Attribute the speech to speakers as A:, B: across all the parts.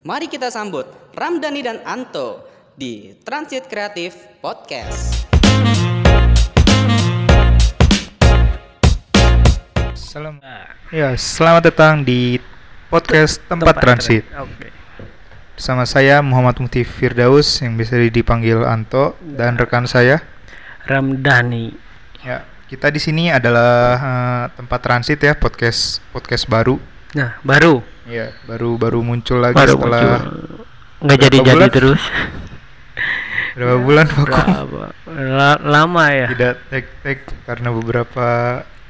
A: Mari kita sambut Ramdhani dan Anto di Transit Kreatif Podcast.
B: Salam.
C: Nah.
B: Ya, selamat datang di podcast Tempat, Transit.
C: Oke.
B: Sama saya Muhammad Mukti Firdaus yang biasa dipanggil Anto
C: Ya.
B: dan rekan saya.
C: Ramdhani.
B: Ya, kita di sini adalah eh, tempat transit ya, podcast podcast baru.
C: Nah, baru.
B: Ya, baru baru muncul lagi
C: baru
B: setelah
C: muncul. Nggak
B: berapa
C: jadi-jadi
B: bulan?
C: terus.
B: berapa bulan vakum.
C: Berapa? La- lama ya
B: Tidak tek tek karena beberapa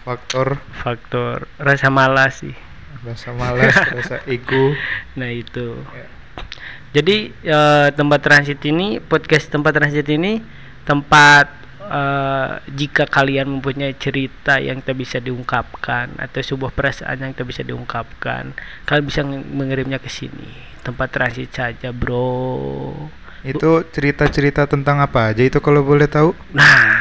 B: faktor
C: faktor rasa malas sih.
B: rasa malas, rasa ego.
C: Nah, itu.
B: Ya.
C: Jadi eh, tempat transit ini podcast tempat transit ini tempat eh, jika kalian mempunyai cerita yang tak bisa diungkapkan atau sebuah perasaan yang tak bisa diungkapkan, kalian bisa ng- mengirimnya ke sini. Tempat transit saja, Bro.
B: Itu cerita-cerita tentang apa aja itu kalau boleh tahu?
C: Nah,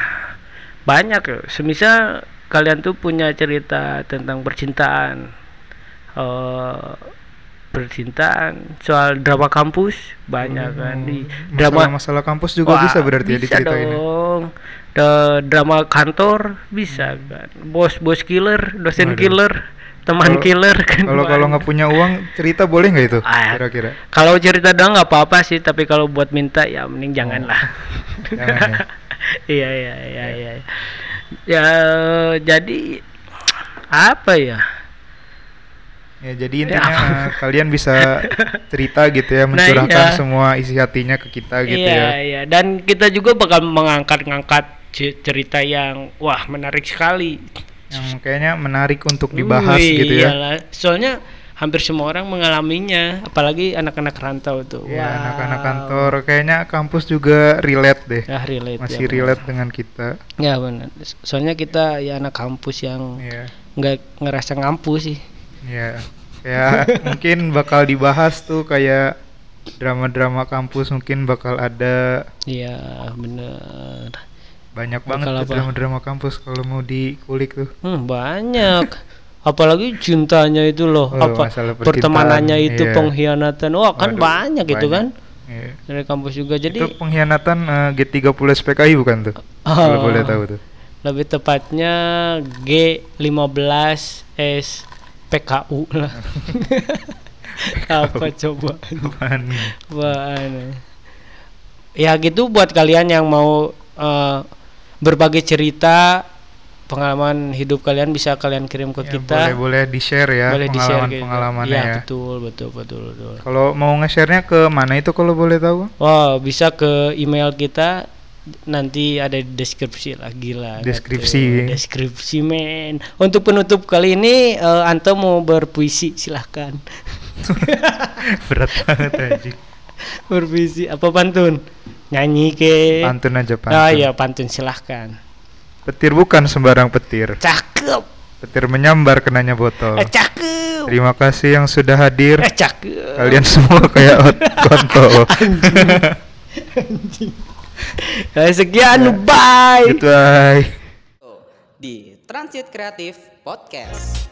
C: banyak ya. Semisal kalian tuh punya cerita tentang percintaan, eh percintaan, soal drama kampus banyak kan di drama
B: Hmm, masalah kampus juga
C: Wah,
B: bisa berarti ya
C: bisa
B: diceritain. ya?
C: dong. Da- drama kantor bisa kan. Bos-bos killer,
B: Hmm.
C: dosen
B: Waduh.
C: killer, teman
B: Kalau-
C: killer kan.
B: Kalau kalau
C: banyak.
B: nggak punya uang cerita boleh nggak itu?
C: Ah.
B: Kira-kira.
C: Kalau cerita doang nggak apa-apa sih, tapi kalau buat minta ya mending janganlah.
B: Oh. Jangan ya.
C: Iya iya iya iya. Ya jadi apa ya?
B: Ya, jadi intinya eh, kalian bisa cerita gitu ya, mencurahkan
C: iya.
B: semua isi hatinya ke kita gitu
C: iya
B: ya.
C: iya. Dan kita juga bakal mengangkat-ngangkat ce- cerita yang wah menarik sekali.
B: Yang kayaknya menarik untuk dibahas
C: Wih, iya.
B: gitu ya.
C: iyalah. Soalnya hampir semua orang mengalaminya, apalagi anak-anak rantau tuh.
B: Ya,
C: Wah.
B: anak-anak kantor kayaknya kampus juga relate deh.
C: Ya relate.
B: Masih
C: ya,
B: relate dengan kita.
C: benar. Ya benar. Soalnya kita ya anak kampus yang
B: Iya.
C: nggak ngerasa ngampus sih.
B: Iya. Ya, mungkin bakal dibahas tuh kayak drama-drama kampus mungkin bakal ada
C: Iya benar.
B: banyak banget
C: Bakal
B: tuh
C: apa?
B: drama-drama kampus kalau mau dikulik tuh.
C: Hmm, banyak. Apalagi cintanya itu loh,
B: Oh,
C: apa
B: masalah percintaan,
C: pertemanannya itu
B: iya.
C: pengkhianatan. Wah, kan
B: Waduh,
C: banyak, itu kan
B: banyak. Iya.
C: dari kampus juga. Jadi
B: itu pengkhianatan eh, G30 SPKI bukan tuh? Kalau
C: Oh.
B: boleh tahu tuh.
C: lebih tepatnya G15 S PKU lah. apa coba?
B: Apaan nih?
C: Apaan? Ya gitu buat kalian yang mau eh, berbagi cerita pengalaman hidup kalian bisa kalian kirim ke
B: Ya,
C: kita.
B: boleh-boleh di-share ya
C: boleh di-share gitu.
B: pengalaman-pengalamannya
C: Iya,
B: ya.
C: betul betul betul betul
B: Kalau mau nge-share-nya ke mana itu kalau boleh tahu?
C: wah bisa ke email kita nanti ada di deskripsi lah gila
B: Deskripsi.
C: gitu. deskripsi men untuk penutup kali ini eh, Anto mau berpuisi silahkan
B: Berat banget anjing.
C: berpuisi apa pantun nyanyi ke
B: Pantun aja pantun.
C: ah iya pantun silahkan
B: Petir bukan sembarang petir.
C: cakep
B: Petir menyambar kenanya botol.
C: eh, cakep
B: Terima kasih yang sudah hadir.
C: eh, cakep
B: Kalian semua kayak ot- kontol.
C: Eh, sekian
B: Iya.
C: bye
B: Goodbye.
A: Di Transit Kreatif Podcast.